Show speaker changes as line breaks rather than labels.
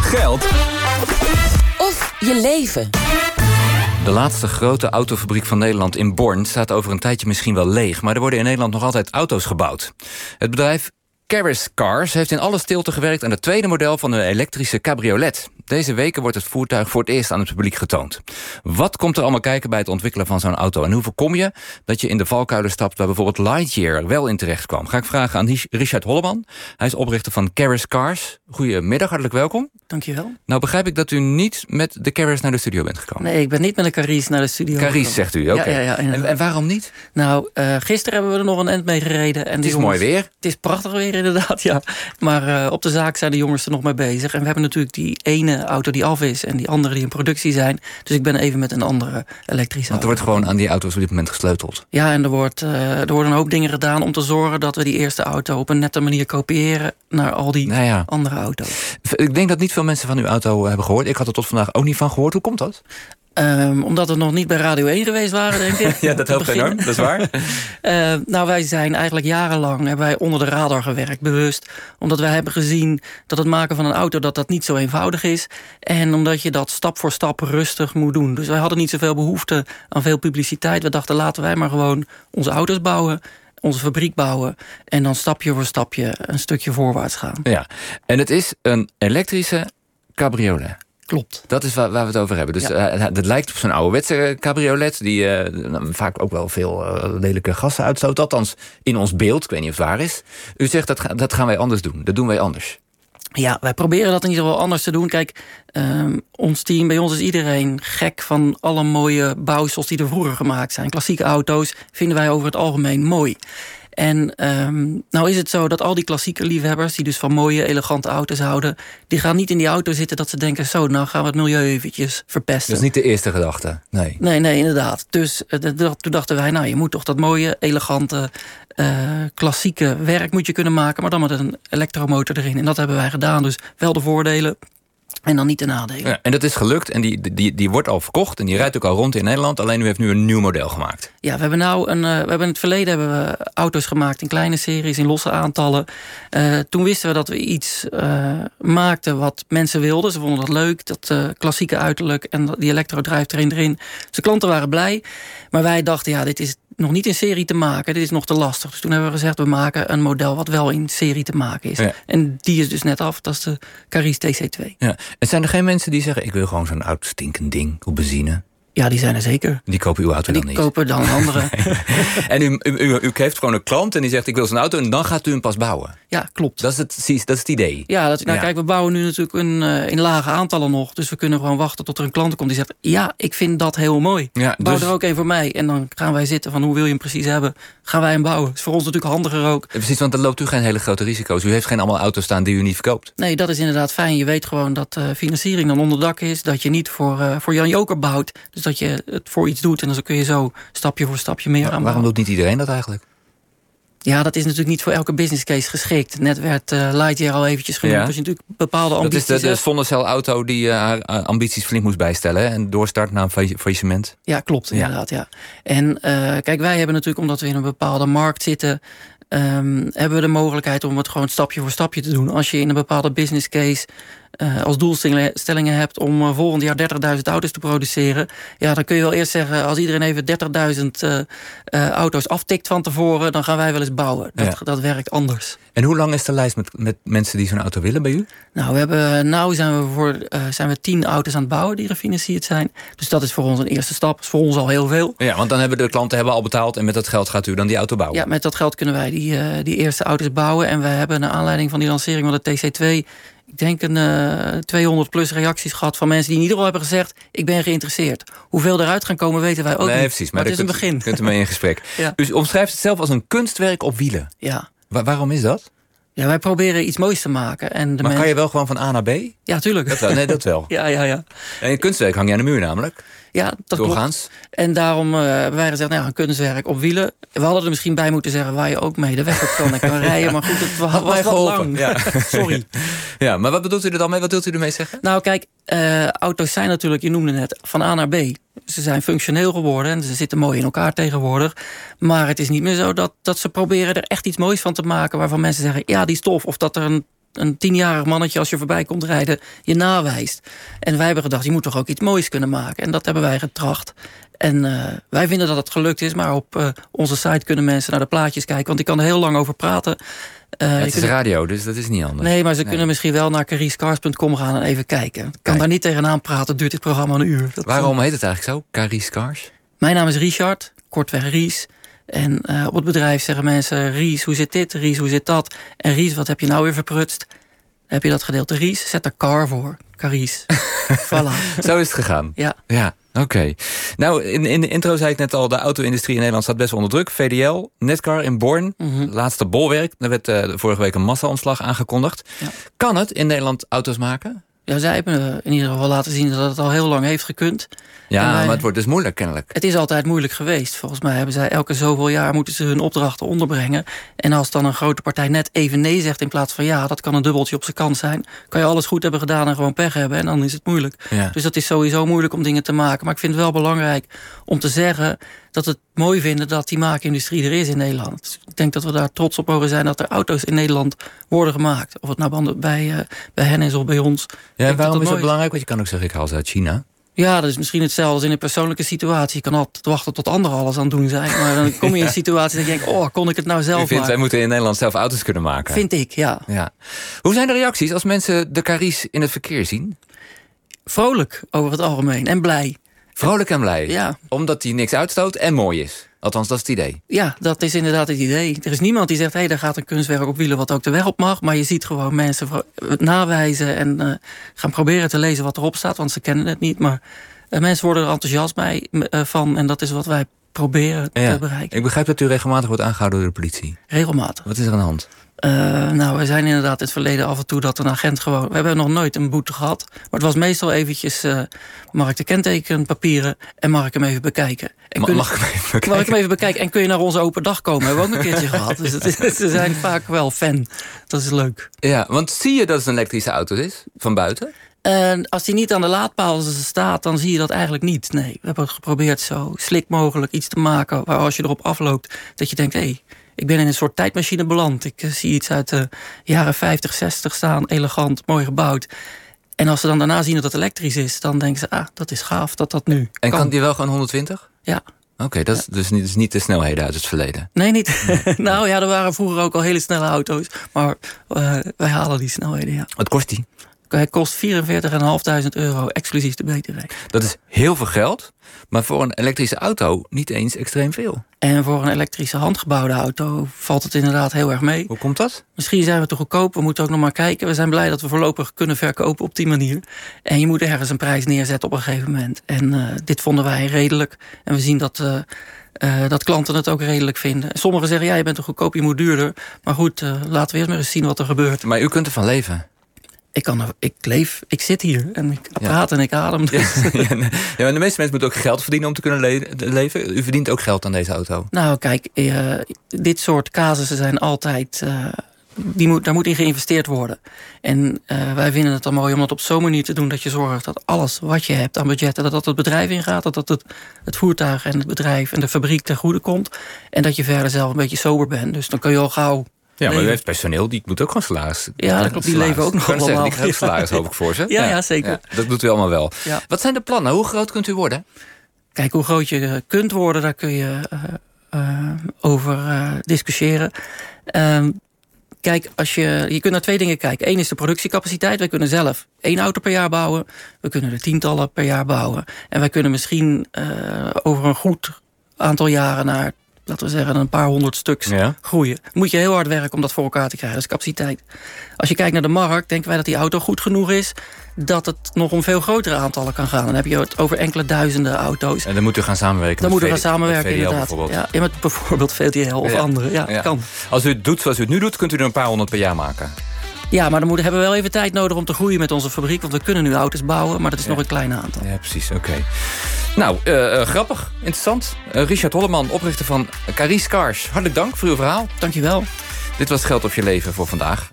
geld
Of je leven.
De laatste grote autofabriek van Nederland in Born staat over een tijdje misschien wel leeg, maar er worden in Nederland nog altijd auto's gebouwd. Het bedrijf Caris Cars heeft in alle stilte gewerkt aan het tweede model van een elektrische cabriolet. Deze weken wordt het voertuig voor het eerst aan het publiek getoond. Wat komt er allemaal kijken bij het ontwikkelen van zo'n auto? En hoe voorkom je dat je in de valkuilen stapt waar bijvoorbeeld Lightyear wel in terecht kwam? Ga ik vragen aan Richard Holleman. Hij is oprichter van Caris Cars. Goedemiddag, hartelijk welkom.
Dankjewel.
Nou begrijp ik dat u niet met de Caris naar de studio bent gekomen.
Nee, ik ben niet met een Caries naar de studio.
Caris
gekomen.
zegt u, oké.
Ja, ja, ja,
en,
inderdaad.
en waarom niet?
Nou, eh, gisteren hebben we er nog een end mee gereden. En
Het is mooi weer.
Het is prachtig weer inderdaad, ja. Maar eh, op de zaak zijn de jongens er nog mee bezig. En we hebben natuurlijk die ene auto die af is... en die andere die in productie zijn. Dus ik ben even met een andere elektrische
Want er
auto.
wordt gewoon aan die auto's op dit moment gesleuteld.
Ja, en er, wordt, eh, er worden een hoop dingen gedaan om te zorgen... dat we die eerste auto op een nette manier kopiëren... naar al die
Nou ja,
andere auto's.
ik denk dat niet veel mensen van uw auto eh, hebben gehoord. Ik had er tot vandaag ook niet van gehoord. Hoe komt dat?
Ehm, omdat we nog niet bij Radio 1 geweest waren, denk ik. om te beginnen.
Dat is waar.
Eh, nou, wij zijn eigenlijk jarenlang hebben wij onder de radar gewerkt, bewust. Omdat wij hebben gezien dat het maken van een auto dat dat niet zo eenvoudig is. En omdat je dat stap voor stap rustig moet doen. Dus wij hadden niet zoveel behoefte aan veel publiciteit. We dachten, laten wij maar gewoon onze auto's bouwen, onze fabriek bouwen. En dan stapje voor stapje een stukje voorwaarts gaan.
ja. En het is een elektrische cabriolet.
Klopt.
Dat is waar, waar we het over hebben. Dus eh, het lijkt op zo'n ouderwetse eh, cabriolet... die eh, nou, vaak ook wel veel eh, lelijke gassen uitstoot. Althans, in ons beeld. Ik weet niet of het waar is. U zegt, dat, ga- dat gaan wij anders doen. Dat doen wij anders.
Ja, wij proberen dat in ieder geval anders te doen. Kijk, ehm, ons team, bij ons is iedereen gek van alle mooie bouwsels die er vroeger gemaakt zijn. Klassieke auto's vinden wij over het algemeen mooi. En ehm, nou is het zo dat al die klassieke liefhebbers, die dus van mooie, elegante auto's houden, die gaan niet in die auto zitten dat ze denken: zo, nou gaan we het milieu eventjes verpesten.
Dat is niet de eerste gedachte. Nee.
Nee, nee, inderdaad. Dus eh, dat- dat- toen dachten wij, nou, je moet toch dat mooie, elegante, eh, klassieke werk moet je kunnen maken, maar dan met een elektromotor erin. En dat hebben wij gedaan. Dus wel de voordelen en dan niet de nadelen. Ja,
Ja, en dat is gelukt en die, die, die wordt al verkocht en die rijdt ook al rond in Nederland. Alleen u heeft nu een nieuw model gemaakt.
we hebben nou een, eh, we hebben in het verleden hebben we auto's gemaakt in kleine series, in losse aantallen. Eh, toen wisten we dat we iets eh, maakten wat mensen wilden. Ze vonden dat leuk, dat eh, klassieke uiterlijk en dat- die elektrodrijftrain erin. Dus de klanten waren blij. Maar wij dachten, ja, dit is nog niet in serie te maken. Dit is nog te lastig. Dus toen hebben we gezegd, we maken een model wat wel in serie te maken is.
Ja.
En die is dus net af. Dat is de Caris TC2.
Ja. En zijn er geen mensen die zeggen: Ik wil gewoon zo'n oud stinkend ding op benzine?
Ja, die zijn er zeker.
Die kopen uw auto
En
dan
die
niet.
kopen dan anderen.
En u, u, u, u heeft gewoon een klant en die zegt: Ik wil zo'n auto en dan gaat u hem pas bouwen.
Ja, klopt.
Dat is het, precies, dat is het idee.
Ja, dat, nou
Ja.
kijk, we bouwen nu natuurlijk een, eh, in lage aantallen nog. Dus we kunnen gewoon wachten tot er een klant komt die zegt... ja, ik vind dat heel mooi.
Ja,
Bouw
dus-
er ook een voor mij. En dan gaan wij zitten van hoe wil je hem precies hebben. Gaan wij hem bouwen. is voor ons natuurlijk handiger ook.
Eh, Precies, want dan loopt u geen hele grote risico's. U heeft geen allemaal auto's staan die u niet verkoopt.
Nee, dat is inderdaad fijn. Je weet gewoon dat eh, financiering dan onderdak is. Dat je niet voor, eh, voor Jan Joker bouwt. Dus dat je het voor iets doet. En dan kun je zo stapje voor stapje meer aan
Waarom
bouwen.
doet niet iedereen dat eigenlijk?
Ja, dat is natuurlijk niet voor elke business case geschikt. Net werd eh Lightyear al eventjes genoemd.
Ja.
Dus je natuurlijk bepaalde
Dat is
ambities
de, de
hebt.
zonnecelauto die eh, haar eh, ambities flink moest bijstellen hè, en doorstart na een failli- faillissement.
Ja, klopt
Ja.
inderdaad. Ja. En eh, kijk, wij hebben natuurlijk, omdat we in een bepaalde markt zitten, ehm, hebben we de mogelijkheid om het gewoon stapje voor stapje te doen. Als je in een bepaalde business case eh, als doelstellingen hebt om eh, volgend jaar 30.000 auto's te produceren, ja, dan kun je wel eerst zeggen, als iedereen even 30.000 eh, eh, auto's aftikt van tevoren, dan gaan wij wel eens bouwen. Dat,
Ja.
dat werkt anders.
En hoe lang is de lijst met, met mensen die zo'n auto willen bij u?
Nou, we hebben, nou zijn we voor eh, zijn we tien auto's aan het bouwen die gefinancierd zijn. Dus dat is voor ons een eerste stap. is voor ons al heel veel.
Ja, want dan hebben de klanten hebben al betaald en met dat geld gaat u dan die auto bouwen.
Ja, met dat geld kunnen wij die, eh, die eerste auto's bouwen. En we hebben naar aanleiding van die lancering van de TC2... ik denk een eh, 200 plus reacties gehad van mensen die in ieder geval hebben gezegd... ik ben geïnteresseerd. Hoeveel eruit gaan komen weten wij ook
nee,
niet.
precies. Maar,
het is
daar
een
kunt,
begin.
kunt u mee in gesprek.
Ja.
U omschrijft het zelf als een kunstwerk op wielen.
Ja.
Wa- waarom is dat?
ja, wij proberen iets moois te maken. En de
maar kan
mensen-
je wel gewoon van A naar B?
Ja, tuurlijk.
Dat wel, nee, dat wel.
Ja, ja, ja.
En een kunstwerk hang je aan de muur namelijk.
ja dat klopt.
doorgaans.
En daarom eh, hebben wij gezegd, nou, een kunstwerk op wielen. We hadden er misschien bij moeten zeggen waar je ook mee de weg op kan en kan rijden. Maar goed, het wa- was
mij
wat
geholpen,
lang.
ja.
Sorry.
Ja, maar wat bedoelt u er dan mee? Wat wilt u ermee zeggen?
Nou, kijk, eh, auto's zijn natuurlijk, je noemde net, van A naar B. Ze zijn functioneel geworden en ze zitten mooi in elkaar tegenwoordig. Maar het is niet meer zo dat, dat ze proberen er echt iets moois van te maken... waarvan mensen zeggen, ja, die is tof. Of dat er een een tienjarig mannetje als je voorbij komt rijden je nawijst. En wij hebben gedacht, je moet toch ook iets moois kunnen maken. En dat hebben wij getracht. En uh, wij vinden dat het gelukt is, maar op uh, onze site kunnen mensen naar de plaatjes kijken. Want ik kan er heel lang over praten. Eh,
Uh, ja, het is radio, dus dat is niet anders.
Nee, maar ze nee. kunnen misschien wel naar cariescars.com gaan en even kijken. Ik kan Kijk. daar niet tegenaan praten, duurt dit programma een uur.
Dat Waarom heet het eigenlijk zo, Cariescars?
Mijn naam is Richard, kortweg Ries. En uh, op het bedrijf zeggen mensen: Ries, hoe zit dit? Ries, hoe zit dat? En Ries, wat heb je nou weer verprutst? Heb je dat gedeelte Ries? Zet er car voor. Caries. voilà.
Zo is het gegaan.
Ja.
Ja, oké. Okay. Nou, in, in de intro zei ik net al: de auto-industrie in Nederland staat best onder druk. VDL, Netcar in Born, mm
Mhm.
-hmm. laatste bolwerk. Daar werd uh, vorige week een massa-ontslag aangekondigd. Ja. Kan het in Nederland auto's maken?
Ja, zij hebben eh, in ieder geval laten zien dat het al heel lang heeft gekund.
Ja, wij, maar het wordt dus moeilijk kennelijk.
eh, Het is altijd moeilijk geweest. Volgens mij hebben zij elke zoveel jaar moeten ze hun opdrachten onderbrengen. En als dan een grote partij net even nee zegt in plaats van ja, dat kan een dubbeltje op zijn kant zijn. Kan je alles goed hebben gedaan en gewoon pech hebben en dan is het moeilijk.
Ja.
Dus dat is sowieso moeilijk om dingen te maken. Maar ik vind het wel belangrijk om te zeggen dat het mooi vinden dat die maakindustrie er is in Nederland. Dus Ik denk dat we daar trots op mogen zijn dat er auto's in Nederland worden gemaakt. Of het nou bij, uh, bij hen is of bij ons.
Ja, en waarom dat is dat belangrijk? Want je kan ook zeggen, ik haal ze uit China.
Ja, dat is misschien hetzelfde als in een persoonlijke situatie. Je kan altijd wachten tot anderen alles aan het doen zijn. Maar dan kom je in een situatie dat je denkt, oh, kon ik het nou zelf
vindt,
maken?
Wij moeten in Nederland zelf auto's kunnen maken.
Vind ik, ja.
ja. Hoe zijn de reacties als mensen de Caries in het verkeer zien?
Vrolijk over het algemeen en blij.
Vrolijk en blij.
Ja.
Omdat hij niks uitstoot en mooi is. Althans, dat is het idee.
Ja, dat is inderdaad het idee. Er is niemand die zegt, hé, hey, daar gaat een kunstwerk op wielen... wat ook de weg op mag. Maar je ziet gewoon mensen nawijzen en uh, gaan proberen te lezen wat erop staat... want ze kennen het niet. Maar uh, mensen worden er enthousiast bij, uh, van en dat is wat wij proberen ja. te bereiken.
Ik begrijp dat u regelmatig wordt aangehouden door de politie.
Regelmatig.
Wat is er aan de hand?
Uh, nou, we zijn inderdaad in het verleden af en toe dat een agent gewoon... We hebben nog nooit een boete gehad. Maar het was meestal eventjes... Uh, mag ik de kentekenpapieren en mag ik hem even bekijken? En
Ma kun, mag ik hem even bekijken?
Mag ik hem even bekijken? En kun je naar onze open dag komen? Hebben we ook een keertje gehad. Dus het is, ze zijn vaak wel fan. Dat is leuk.
Ja, want zie je dat het een elektrische auto is? Van buiten?
En uh, als die niet aan de laadpaal staat, dan zie je dat eigenlijk niet. Nee, we hebben geprobeerd zo slik mogelijk iets te maken... waar als je erop afloopt, dat je denkt... Hey, ik ben in een soort tijdmachine beland. Ik eh, zie iets uit de jaren 50, 60 staan, elegant, mooi gebouwd. En als ze dan daarna zien dat het elektrisch is, dan denken ze, ah, dat is gaaf dat dat nu.
En kan, kan die wel gewoon 120?
Ja.
Oké, okay, dat is ja. dus, niet, dus niet de snelheden uit het verleden.
Nee, niet. Nee. nou ja, er waren vroeger ook al hele snelle auto's. Maar uh, wij halen die snelheden, ja.
Wat kost die?
Hij kost 44.500 euro, exclusief de BTW.
Dat is heel veel geld, maar voor een elektrische auto niet eens extreem veel.
En voor een elektrische handgebouwde auto valt het inderdaad heel erg mee.
Hoe komt dat?
Misschien zijn we te goedkoop, we moeten ook nog maar kijken. We zijn blij dat we voorlopig kunnen verkopen op die manier. En je moet ergens een prijs neerzetten op een gegeven moment. En uh, dit vonden wij redelijk. En we zien dat... Uh, uh, dat klanten het ook redelijk vinden. Sommigen zeggen, ja, je bent te goedkoop, je moet duurder. Maar goed, eh, laten we eerst maar eens zien wat er gebeurt.
Maar u kunt ervan leven?
ik, kan, ik leef, ik zit hier en ik praat ja. en ik adem. Dus.
Ja, ja, nee. ja, maar de meeste mensen moeten ook geld verdienen om te kunnen le leven. U verdient ook geld aan deze auto.
Nou, kijk, uh, dit soort casussen zijn altijd. Uh, die moet, daar moet in geïnvesteerd worden. En uh, wij vinden het dan mooi om dat op zo'n manier te doen dat je zorgt dat alles wat je hebt aan budgetten, dat dat het bedrijf ingaat, dat dat het, het voertuig en het bedrijf en de fabriek ten goede komt. En dat je verder zelf een beetje sober bent. Dus dan kun je al gauw
ja, maar u heeft personeel, die moet ook gewoon salaris.
Ja, dat klopt. Die
salaris.
leven ook nog allemaal.
Zeggen, die krijgt salaris, hoop ik, voor ze.
Ja, ja, ja zeker. Ja,
dat doet u allemaal wel. Ja. Wat zijn de plannen? Hoe groot kunt u worden?
Kijk, hoe groot je eh, kunt worden, daar kun je uh, uh, over uh, discussiëren. Ehm, kijk, als je, je kunt naar twee dingen kijken. Eén is de productiecapaciteit. Wij kunnen zelf één auto per jaar bouwen. We kunnen er tientallen per jaar bouwen. En wij kunnen misschien eh, over een goed aantal jaren naar laten we zeggen, een paar honderd stuks ja. groeien. Moet je heel hard werken om dat voor elkaar te krijgen. Dat is capaciteit. Als je kijkt naar de markt, denken wij dat die auto goed genoeg is... dat het nog om veel grotere aantallen kan gaan. Dan heb je het over enkele duizenden auto's.
En dan moeten we gaan samenwerken
Dan moeten we
gaan
samenwerken, VDL inderdaad.
Bijvoorbeeld.
Ja, met bijvoorbeeld VTL of ja. andere. Ja, ja, Kan.
Als u het doet zoals u het nu doet, kunt u er een paar honderd per jaar maken.
Ja, maar dan moeten, hebben we wel even tijd nodig om te groeien met onze fabriek. Want we kunnen nu auto's bouwen, maar dat is ja. nog een klein aantal.
Ja, precies. Oké. Okay. Nou, uh, uh, grappig. Interessant. Uh, Richard Holleman, oprichter van Caris Cars. Hartelijk dank voor uw verhaal.
Dankjewel.
Dit was Geld op je leven voor vandaag.